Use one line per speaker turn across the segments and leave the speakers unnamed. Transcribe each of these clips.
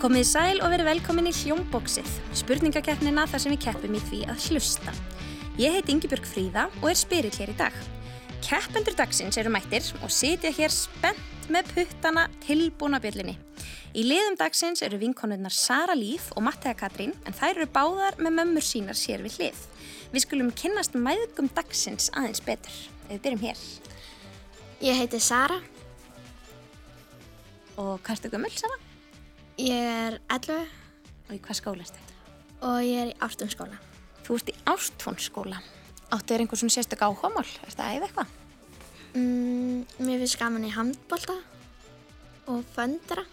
Komið í sæl og verið velkomin í Hljómboksið, spurningakeppnina þar sem við keppum í því að hlusta. Ég heiti Ingibjörg Fríða og er spyrill hér í dag. Keppendur dagsins eru mættir og sitja hér spennt með puttana tilbúna bjöllinni. Í liðum dagsins eru vinkonunnar Sara Líf og Mattea Katrín en þær eru báðar með mömmur sínar sér við hlið. Við skulum kynnast mæðgum dagsins aðeins betur. Við byrjum hér.
Ég heiti Sara,
Og hvað ertu gömul, Sara?
ég er 11
Og í hvað skóla ertu?
og ég er í ártum skóla.
Þú ert í ártónsskóla. Áttu þér einhver svona sérstök áhugamál? Er það æðið eitthvað?
Mm, mér finnst gaman í handbolta og föndra.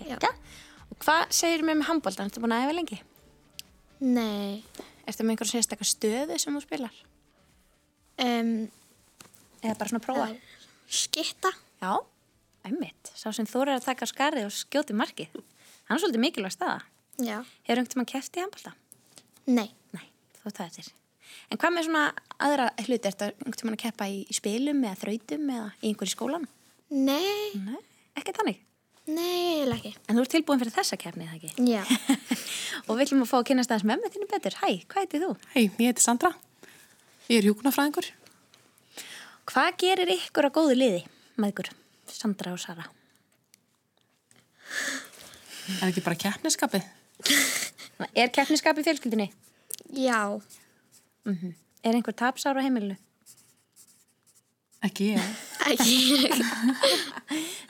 Gekka. Og hvað segir mér með handbóltan? Ertu búin að æfa lengi?
Nei,
Ertu með einhver sérstök stöðu sem þú spilar?
um,
Eða bara svona prófa?
skitta.
Já. Æmitt. Sá sem þú er að taka af skarið og skjóti markið. Hann er svolítið mikilvæg staða.
Já.
Hefur einhvern veginn kæft í handbólta?
Nei,
Nei, þú ert það eftir. En hvað með svona aðra hluti? Ertu einhvern veginn að keppa í, í spilum eða þrautum eða í einhverju skólan?
nei,
Nei, ekki þannig.
nei, eiginlega ekki.
En þú ert tilbúin fyrir þessa keppni, er það ekki?
Já,
og við ætlum að fá að kynast aðeins mömmu þínu betur. Hæ, hvað heiti þú?
Hei, ég heiti Sandra. Ég er hjúknafræðingur.
Hvað gerir ykkur að góðu liði með ykkur, Sandra og Sara?
Er ekki bara keppniskapið?
Er keppniskap í fjölskyldinni?
já,
Er einhver tapsár á heimilinu?
Ekki ég.
ekki.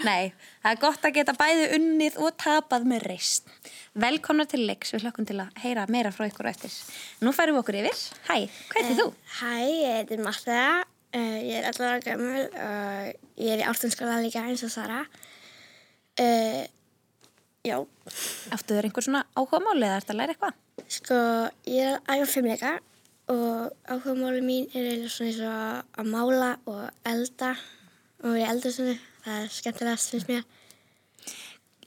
Nei, það er gott að geta bæði unnið og tapað með reist. Velkomna til leiks, við hlökkum til að heyra meira frá ykkur á eftir. Nú færum við okkur yfir. Hæ, hvað heitir þú?
Hæ, ég heiti Marta, uh, ég er 11 ára gömul og ég er í ártunskóla líka eins og Sara. Uh, já,
Áttu þér einhver svona áhugamáli eða ert að læra eitthvað?
sko, ég er að æfa fimmleika og áhugamáli mín er eiginlega svona eins og að mála og elda og ég elda svona, það er skemmtilegast finnst mér.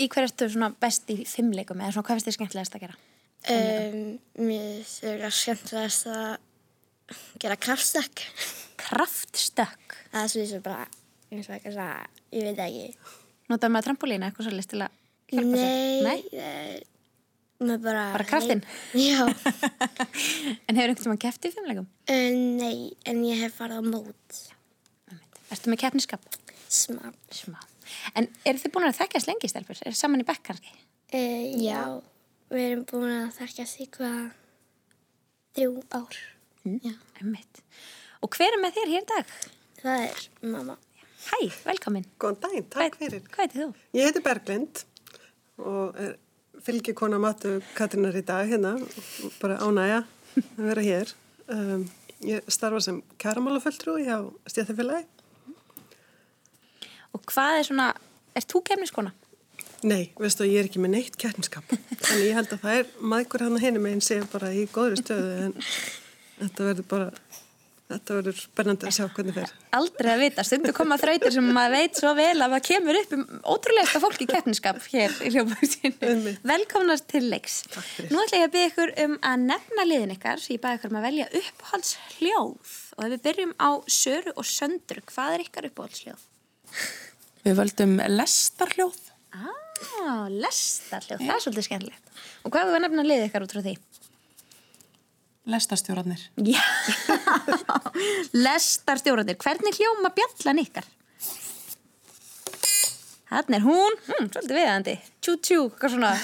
Í hverju ertu svona best í fimmleikum eða svona hvað finnst þér skemmtilegast að gera?
Um, mér finnst eiginlega skemmtilegast að gera kraftstökk.
Kraftstökk.
það er svona eins og bara, eins og eitthvað svona, ég veit það ekki.
Notaðu maður trampolína eitthvað svolítið til að hjálpa
Nei,
sér?
Nei?
Nei?
Með bara...
Bara kraftinn?
Nei, já,
En hefur einhvern tíma keppt í fimmleikum?
Eh, nei, en ég hef farið á mót
Einmitt. Ertu með keppniskap?
smá.
Smá. En eru þið búin að þekkjast lengi, stelpur? Er saman í bekk kannski?
Uh, já, við erum búin að þekkja sig hvað þrjú ár. Já,
Emmitt. Og hver er með þér hér í dag?
það er mamma.
Hæ, velkomin.
Góðan daginn, takk fyrir.
Hvað heitir þú?
Ég heiti Berglind og er fylgjikona matu Katrínar í dag hérna, bara ánægja að vera hér. Um, ég starfa sem kæramálaföldrúi hjá stjæðafélagi.
Og hvað er svona, er þú kemniskona?
Nei, veistu, ég er ekki með neitt kjærnskap. Þannig ég held að það er maðgur hann að henni meginn sé bara í góðri stöðu en þetta verður bara, þetta verður spennandi að sjá hvernig fer.
Aldrei að vita, stundu koma þrautir sem maður veit svo vel að það kemur upp um ótrúlegasta fólk í keppniskap hér í hljóðbóksinu.
Einmitt.
Velkomnar til leiks.
fyrir.
Nú ætla ég að byggja ykkur um að nefna liðin ykkar, svo ég bæði ykkur um að velja uppáhaldsljóð. Og ef við byrjum á Söru og Söndru, hvað er ykkar uppáhaldsljóð?
Við völdum lestarhljóð.
Ah,
Á, Ah, lestarljóð,
Eh.
það er svolítið skemmtilegt. Og hvað hefur nefna liðið ykkar út frá því?
Lestarstjóranir.
Já, lestarstjórandir, hvernig hljóma bjallan ykkar? Þannig er hún, mm, svolítið viðandi, tjú tjú, hvað svona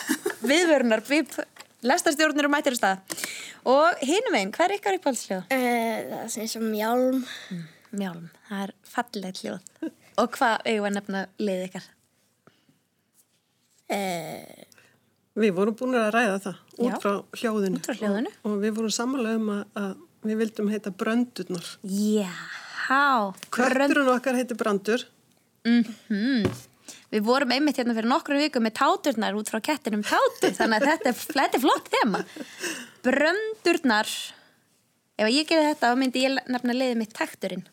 viðvörunar, bíp, lestarstjórnir og mættir á stað. Og hinum einn, hvað er ykkar uppáhaldsljóð?
Uh, það er svona eins og mjálm.
Mjálm, það er fallegt hljóð. Og hvað eigum við að nefna liðið ykkar?
Uh,
Við vorum búin að ræða það
Já.
út frá hljóðinu.
Út frá hljóðinu.
Og, og við vorum sammála um að, að við vildum heita bröndurnar.
Já, há,
Kötturinn okkar heiti brandur.
Við vorum einmitt hérna fyrir nokkru viku með táturnar út frá kettinum tátu þannig að þetta er, þetta er flott þema. Bröndurnar, ef ég gerði þetta þá myndi ég nefna leiðið mitt takturinn.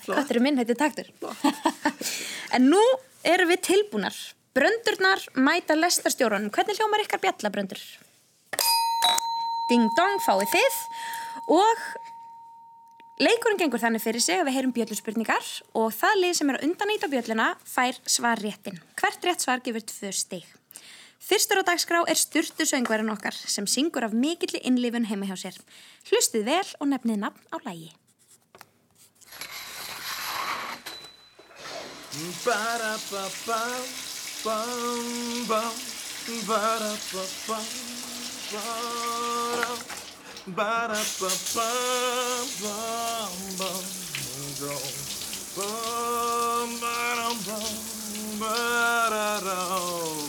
Flott.
Katturinn minn heitir taktur. en nú erum við tilbúnar. Bröndurnar mæta lestarstjórunum. Hvernig hljómar ykkar bjallabröndur? Ding dong fáið þið og Leikurinn gengur þannig fyrir sig að við heyrum bjölluspurningar og það lið sem er að undanýta bjölluna fær svar réttin. Hvert rétt svar gefur tvö stig. Fyrstur á dagskrá er styrtu söngverðin okkar sem syngur af mikilli innlifun heima hjá sér. Hlustið vel og nefnið nafn á lægi.
Ba-da-ba-ba-bum-bum. Ba-da-ba-bum-bum. Ba-da-ba-bum-bum-bum. Bum, ba-dum-bum, ba-da-dum.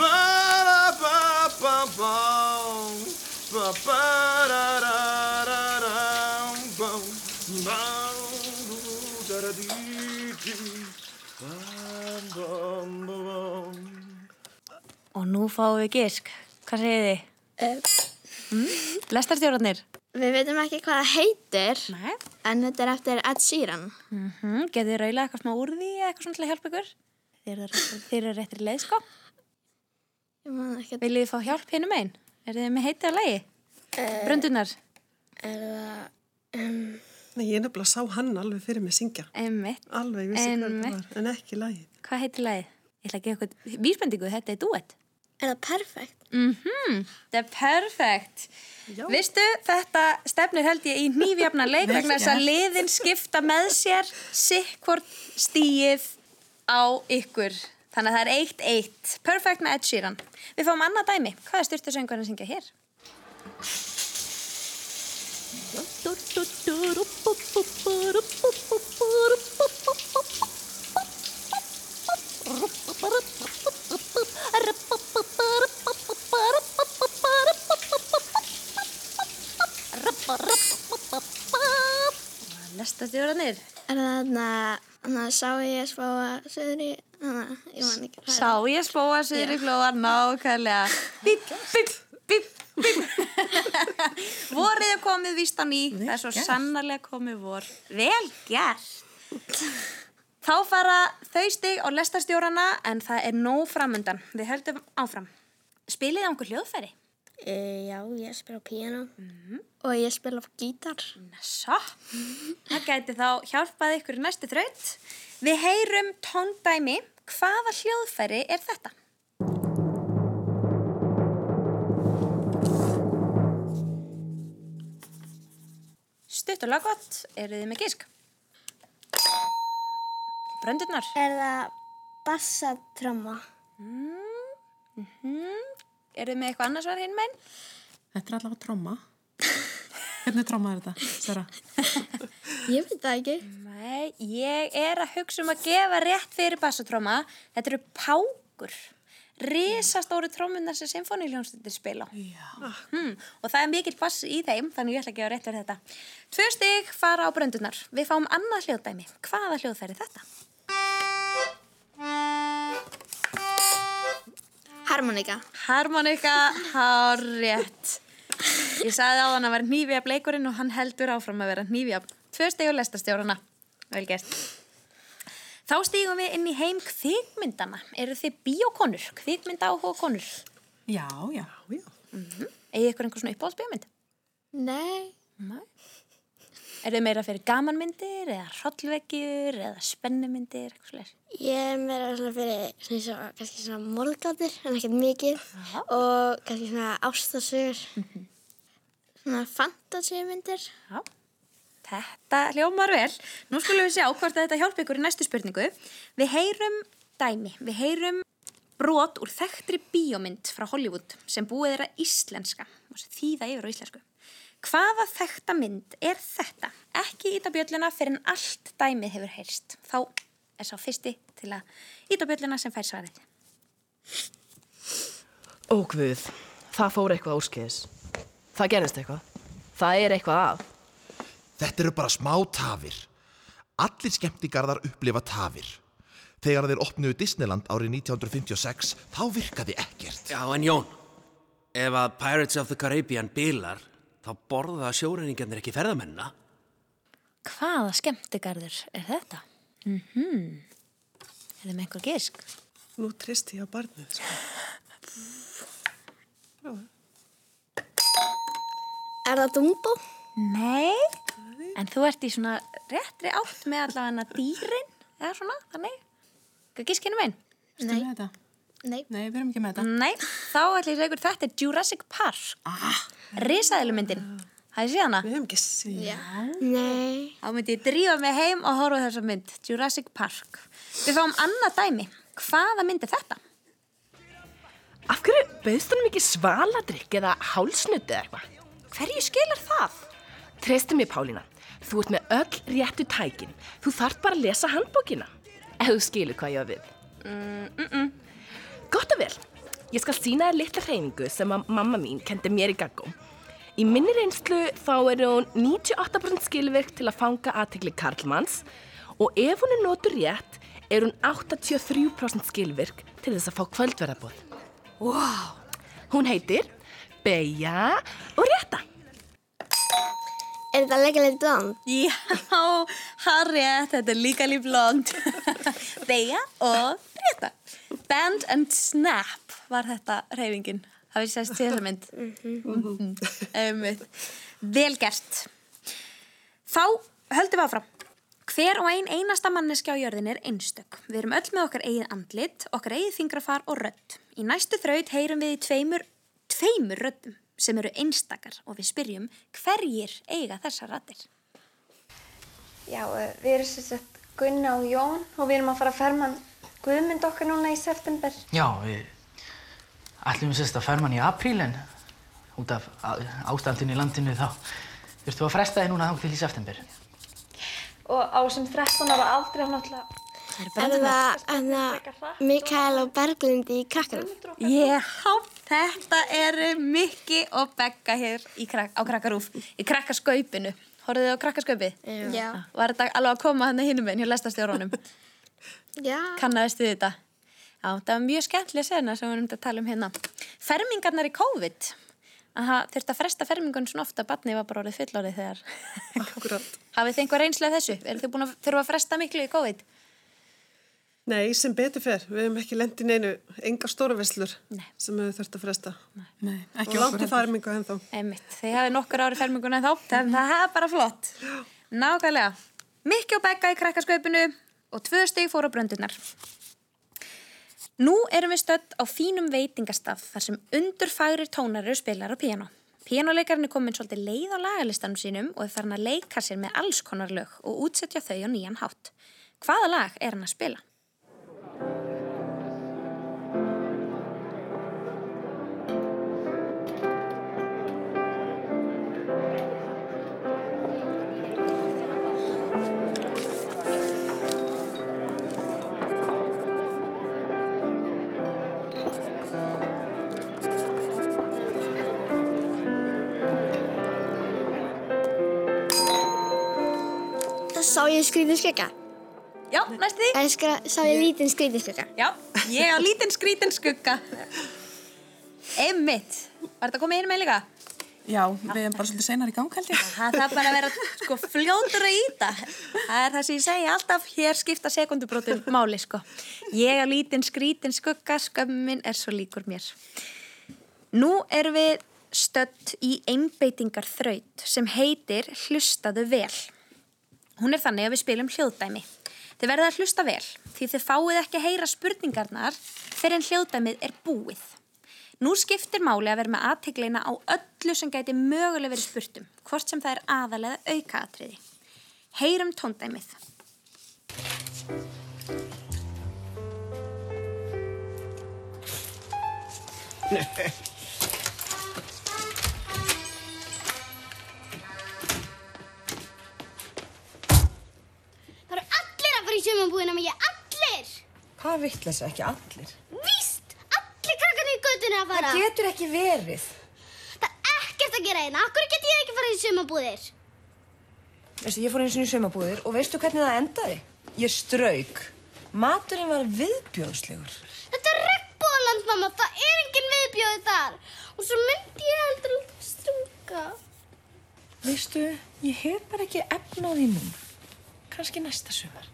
Ba-da-ba-ba-bum. Ba-ba-da-da-da-dum, bum. Ba-dum-da-da-dee-dee. Bum, bum, bum, bum.
Og nú fáum við gisk. Hvað segir þið? Eh. Mm? Lestarstjórnarnir?
Við veitum ekki hvað það heitir,
Nei.
en þetta er eftir Ed Sheeran.
Mm -hmm. Getur þið raula eitthvað smá úr því eða eitthvað svona til að hjálpa ykkur? Þeir eru, þeir eru réttir leið sko.
Ég man ekki að...
Viljið þið fá hjálp hinum einn? Er þið með heitið að lægi? Eh. Bröndunar?
Nei, ég nefnilega sá hann alveg fyrir mig syngja.
Einmitt.
Alveg, ég vissi hvað það
Einmitt.
var, en ekki lagið.
Hvað heitir lagið? Ég ætla að gefa ykkur vísbendingu, þetta er duett.
Er það perfekt?
Mhm, þetta er perfekt.
Já.
Vistu, þetta stefnir held ég í nýfjafna leik vegna þess að liðin skipta með sér sikkvort stíið á ykkur. Þannig að það er eitt eitt. Perfekt með Ed Sheeran. Við fáum annað dæmi. Hvað er styrtusöngurinn að syngja hér? Lestastjóranir.
Er það þarna... Þannig að sá ég spá að söður í... Þannig að ég man ekki hvað
Sá ég spóa siður í glóa nákvæmlega. Bip, bip, bip, bip. Vorið er komið víst á ný. Það er svo sannarlega komið vor. Vel gert. Þá fara þau stig á lestastjórana en það er nóg framundan. Við höldum áfram. Spilið á einhver hljóðfæri?
E, já, ég spila á piano.
Og ég spila á gítar.
Svo, það gæti þá hjálpað ykkur í næstu þraut. Við heyrum tóndæmi. Hvaða hljóðfæri er þetta? Stutt og laggott, eru þið með gísk? Bröndurnar?
Er það bassatrömma?
Eru þið með eitthvað annars var hinn meginn?
Þetta er allavega tromma. Hvernig tromma er þetta, Sara?
Ég veit það ekki.
Mm. Nei, ég er að hugsa um að gefa rétt fyrir bassatróma. Þetta eru pákur. Risastóru trómunar sem symfóniljónstundir spila. Já. Hmm, og það er mikill bass í þeim, þannig ég ætla að gefa rétt fyrir þetta. Tvö stig fara á bröndunar. Við fáum annað hljóðdæmi. Hvaða hljóðfæri er þetta?
Harmonika.
Harmonika, hár rétt. Ég sagði á hann að vera nýfjab leikurinn og hann heldur áfram að vera nýfjab. Tvö stig og lestastjórana. Vel gert. Þá stígum við inn í heim kvikmyndana. Eru þið bíokonur, kvikmynda áhuga konur?
Já, já.
Já, já.
Egið ykkur einhver svona uppáhaldsbíómynd?
Nei.
Nei. Eru þið meira fyrir gamanmyndir eða hrollveggjur eða spennumyndir, eitthvað slags?
Ég er meira svona fyrir svona, svona, kannski svona morgátir, en ekkert mikið. Og kannski svona ástasögur.
Mhm. Svona fantasíumyndir.
Já, þetta hljómar vel. Nú skulum við sjá hvort að þetta hjálpi ykkur í næstu spurningu. Við heyrum dæmi, við heyrum brot úr þekktri bíómynd frá Hollywood sem búið er að íslenska og sem þýða yfir á íslensku. Hvaða þekkta mynd er þetta? Ekki íta bjölluna fyrir en allt dæmið hefur heyrst. Þá er sá fyrsti til að íta bjölluna sem fær svarið.
Ó Guð, það fór eitthvað úrskeiðis. Það gerist eitthvað. Það er eitthvað að.
Þetta eru bara smá tafir. Allir skemmtigarðar upplifa tafir. Þegar þeir opnuðu Disneyland árið 1956, þá virkaði ekkert.
Já, en Jón, ef að Pirates of the Caribbean bílar, þá borða sjóreiningarnir ekki ferðamennina.
Hvaða skemmtigarður er þetta? Mhm. Er það með einhver gisk?
Nú tristi ég á barnið, sko.
Er það Dumbo?
Nei, En þú ert í svona réttri átt með allavega dýrin, eða svona, þannig. Hvað gískinu minn?
Ertu með þetta?
Nei.
Nei, við erum ekki með þetta.
um Nei, þá ætlum ég að segja ykkur þetta er Jurassic Park. Ah. Risaðilumyndin. Það er síðan að.
Við hefum ekki síðan.
Nei.
Þá myndi ég drífa mig heim og horfa á þessa mynd, Jurassic Park. Við fáum annað dæmi. Hvaða mynd er þetta?
Af hverju bauðst honum ekki svaladrykk eða hálsnutt eða eitthvað?
Hverju skilar það?
Treystu mér, Pálína. Þú ert með öll réttu tækin. Þú þart bara að lesa handbókina. Ef þú skilur hvað ég á við. Mm, mm, mm. Gott og vel. Ég skal sína þér litla hreyfingu sem að mamma mín kendi mér í gaggó. Í minni reynslu þá er hún 98% skilvirk til að fanga aðtekli Karlmanns og ef hún er notur rétt er hún 83% skilvirk til þess að fá kvöldverðabóð. Wow! Hún heitir Beja og Rétta.
Er þetta leikileg blond?
Já, Harriet, þetta er líka líf blond. Beja og breyta. Band and snap var þetta reyfingin. Það við sést til þessa mynd. Mhm. Einmitt. Vel gert. Þá höldum við áfram. Hver og ein einasta manneski á jörðin er einstök. Við erum öll með okkar eigið andlit, okkar eigið fingrafar og rödd. Í næstu þraut heyrum við í tveimur, tveimur röddum sem eru einstakar og við spyrjum hverjir eiga þessar raddir.
Já, eh, við erum sem sagt Gunna og Jón og við erum að fara að ferma Guðmund okkar núna í september.
Já, við ætlum sérst að ferma hann í apríl en út af á- ástandinu í landinu þá þurftum við að fresta þið núna þá til í september.
Og á sem 13 ára aldrei hann alltaf
Er það, er það Mikael og Berglindi í kakkanum?
Já, þetta eru Mikki og Begga hér í krak á Krakkarúf, í Krakkarskaupinu. Horfðu þið á Krakkarskaupið?
Já.
Var þetta alveg að koma hann hinnum en hjá lestastjórunum?
Já.
Kannaðist þið þetta? Já, það var mjög skemmtilega sena sem við erum að tala um hérna. Fermingarnar í COVID. Að það þurfti að fresta fermingun svona ofta að barnið var bara orðið fullorðið þegar.
Akkurát.
Hafið þið einhver reynslu af þessu? Eru þið búin að þurfa að fresta miklu í COVID?
Nei, sem betur fer. Við hefum ekki lendið neinu, engar stóruveslur sem við þurft að fresta.
Nei,
Og
ekki
langt
okkur.
í farmingu ennþá.
Einmitt, þið hafið nokkur ári ferminguna þá, þannig að það er bara flott. Nákvæmlega. Mikki og Begga í krakkaskaupinu og tvö stig fóru á bröndunar. Nú erum við stödd á fínum veitingastaf þar sem undurfærir tónar eru spilar á piano. Pianoleikarinn er komin svolítið leið á lagalistanum sínum og er farin að leika sér með alls konar lög og útsetja þau á nýjan hátt. Hvaða lag er hann að spila?
Það sá ég skrítið skugga.
Já, næstu því.
Það skra, sá ég lítinn skrítið skugga.
Já, ég á lítinn skrítin skugga. Einmitt. Var þetta komið inn með líka?
Já, við erum bara svolítið seinar í gang held ég.
Það þarf bara að vera sko fljótur að íta. Það er það sem ég segja alltaf, hér skipta sekundubrótum máli sko. Ég á lítinn skrítin skugga, skömmin er svo líkur mér. Nú erum við stött í einbeitingar þraut sem heitir Hlustaðu vel. Hún er þannig að við spilum hljóðdæmi. Þið verða að hlusta vel því þið fáið ekki að heyra spurningarnar fyrir en hljóðdæmið er búið. Nú skiptir máli að vera með aðtegleina á öllu sem gæti mögulega verið spurtum, hvort sem það er aðalega aukaatriði. Heyrum tóndæmið.
Það eru allir að fara í sumabúðina með ég, allir!
Hvað vittleisa ekki allir?
Víst, allir krakkarnir í götunni að fara. Það,
getur ekki verið.
er ekkert að gera hérna, okkur get ég ekki farið í sumabúðir.
Veistu, ég fór eins og í sumabúðir og veistu hvernig það endaði? Ég strauk. Maturinn var viðbjóðslegur.
Þetta er regnbóland, mamma, það er engin viðbjóði þar. Og svo myndi ég heldur út að strunga.
Veistu, ég hef bara ekki efna á því núna. Kanski næsta sumar.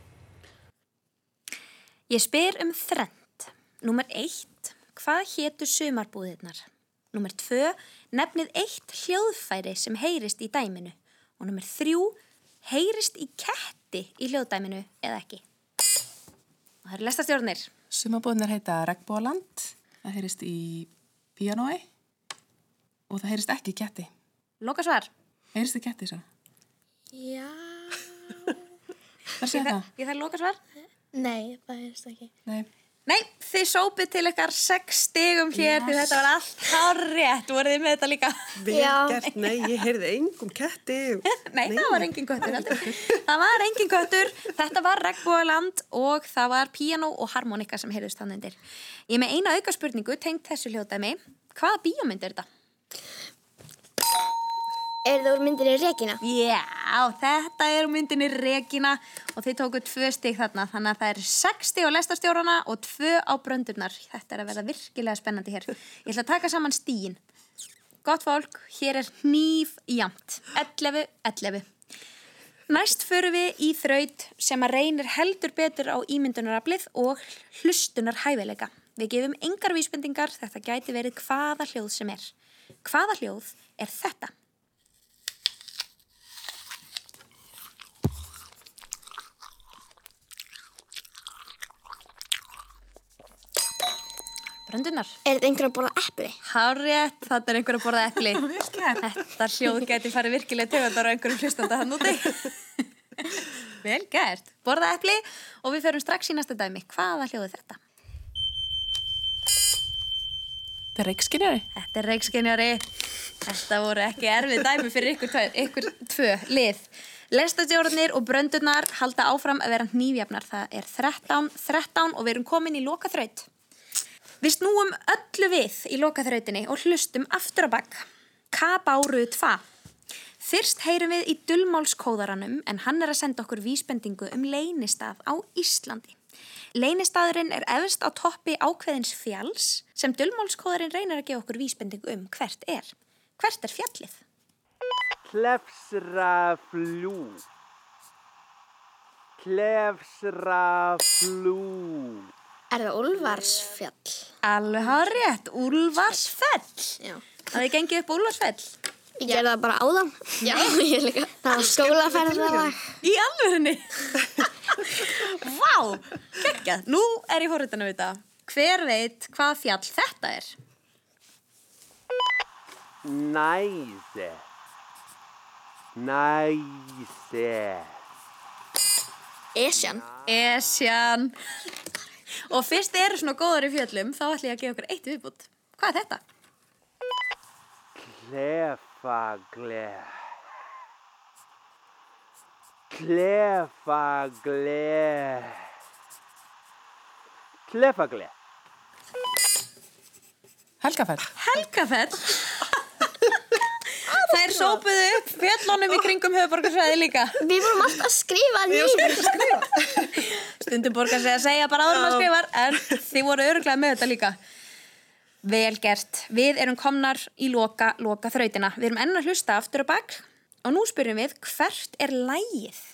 Ég spyr um þrend. Númer eitt, hvað hétu sumarbúðirnar? Númer tvö, nefnið eitt hljóðfæri sem heyrist í dæminu. Og númer þrjú, heyrist í ketti í hljóðdæminu eða ekki. Og það eru lestastjórnir.
Sumabúðnir heita Regnbóland, það heyrist í Pianoi og það heyrist ekki í ketti.
Loka svar.
Heyrist í ketti, svo.
Já.
Það sé það.
Ég þarf loka svar?
Nei, það heyrist ekki.
Nei.
Nei, þið sópið til ykkar sex stigum hér því þetta var allt hárrétt. Voruð þið með þetta líka?
Vel gert, nei, ég heyrði engum ketti.
Nei, það var engin köttur. heldur. það var engin köttur. Þetta var regnbúaland og það var piano og harmonika sem heyrðust hann undir. Ég er með eina auka spurningu tengt þessu hljótaðmi. Hvaða bíómynd er þetta?
Er það úr myndinni Regina?
Já, þetta er úr myndinni Regina og þið tókuð tvö stig þarna þannig að það er sex stig á lestastjórana og tvö á bröndurnar. Þetta er að verða virkilega spennandi hér. Ég ætla að taka saman stíin. Gott fólk, hér er nýf jamt. 11, 11. Næst förum við í þraut sem að reynir heldur betur á ímyndunaraflið og hlustunar hæfileika. Við gefum engar vísbendingar, þetta gæti verið hvaða hljóð sem er. Hvaða hljóð er þetta? Bröndunar.
Er þetta einhver að borða epli?
Hárétt, þetta er einhver að borða epli. þetta hljóð geti farið virkilega tegundar á einhverjum hlustanda hann úti. Vel gert. Borða epli og við ferum strax í næsta dæmi. Hvaða hljóð er þetta?
Það er reikskinjari.
Þetta er reikskinjari. Þetta voru ekki erfið dæmi fyrir ykkur, tvö- ykkur tvö lið. Lestastjórnir og bröndurnar halda áfram að vera nýfjafnar. Það er 13, 13 og við erum komin í loka þraut. Við snúum öllu við í lokaþrautinni og hlustum aftur á bakk. Kabáru 2. Fyrst heyrum við í dullmálskóðaranum en hann er að senda okkur vísbendingu um leynistað á Íslandi. Leynistaðurinn er efst á toppi ákveðins fjalls sem dullmálskóðarinn reynir að gefa okkur vísbendingu um hvert er. Hvert er fjallið?
Klefsraflú. Klefsraflú.
Er það Úlfarsfjall?
Alveg hafa rétt, Úlfarsfell.
Já.
Það er gengið upp á Úlfarsfell.
Ég gerði það bara áðan.
Já,
ég líka. Það var skólaferðalag.
Í alvörinni? Vá, geggjað. Nú er ég hóruðan að vita. Hver veit hvað fjall þetta er?
Næse. Næse.
Esjan. Esjan. Og fyrst þið eru svona góðar í fjöllum, þá ætlum ég að gefa okkur eitt í viðbútt. Hvað er þetta?
Klefagle. Klefagle. Klefagle.
Helgafell.
Helgafell. Þær sópuðu upp fjöllunum í kringum höfuborgarsvæði líka.
Við vorum alltaf að skrifa nýður.
Stundum borgar sig að segja bara áður en maður skrifar, en þið voru öruglega með þetta líka. Vel gert. Við erum komnar í loka, loka þrautina. Við erum enn að hlusta aftur og bakk og nú spyrjum við hvert er lægið?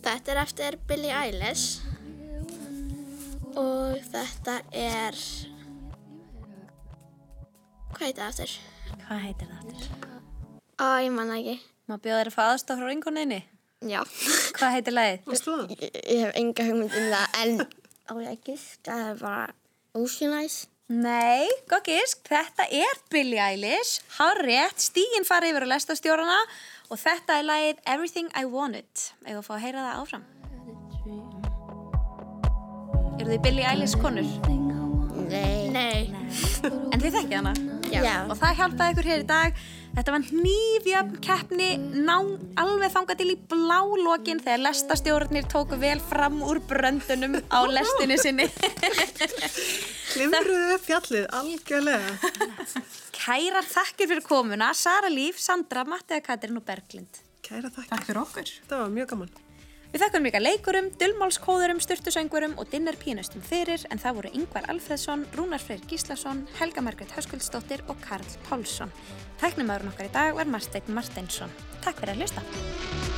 Þetta er eftir Billie Eilish. Og þetta er... Hvað heitir það aftur?
Hvað heitir það aftur?
Ó, ég manna ekki.
Má bjóða þér að fá aðstof frá vinkoninni?
Já.
Hvað heitir lagið?
Veistu það?
Ég, ég hef enga hugmynd um það, en Oh á ég að giska að það er bara Oceanize.
Nei, gott gísk, þetta er Billie Eilish, hár rétt, stíginn farið yfir að lesta stjórnana og þetta er lagið Everything I Wanted, ef að fá að heyra það áfram. Eru þið Billie Eilish konur?
Nei. Nei.
En þið þekkið hana?
Já. Já.
Og það hjálpaði ykkur hér í dag. Þetta var nýfjöfn keppni, ná, alveg þangað til í blálókin þegar lestastjórnir tóku vel fram úr bröndunum á lestinni sinni.
Klimruðu upp fjallið, algjörlega.
Kærar þakkir fyrir komuna, Sara Líf, Sandra, Mattiða Katrin og Berglind.
Kæra þakkir. Takk
fyrir okkur.
Það var mjög gaman.
Við þakkum líka leikurum, dulmálskóðurum, styrtusöngurum og dinnerpínustum fyrir en það voru Yngvar Alfreðsson, Rúnar Freyr Gíslason, Helga Margrét Höskuldsdóttir og Karl Pálsson. Tæknumæðurinn okkar í dag var Marsteinn Marsteinsson. Takk fyrir að hlusta.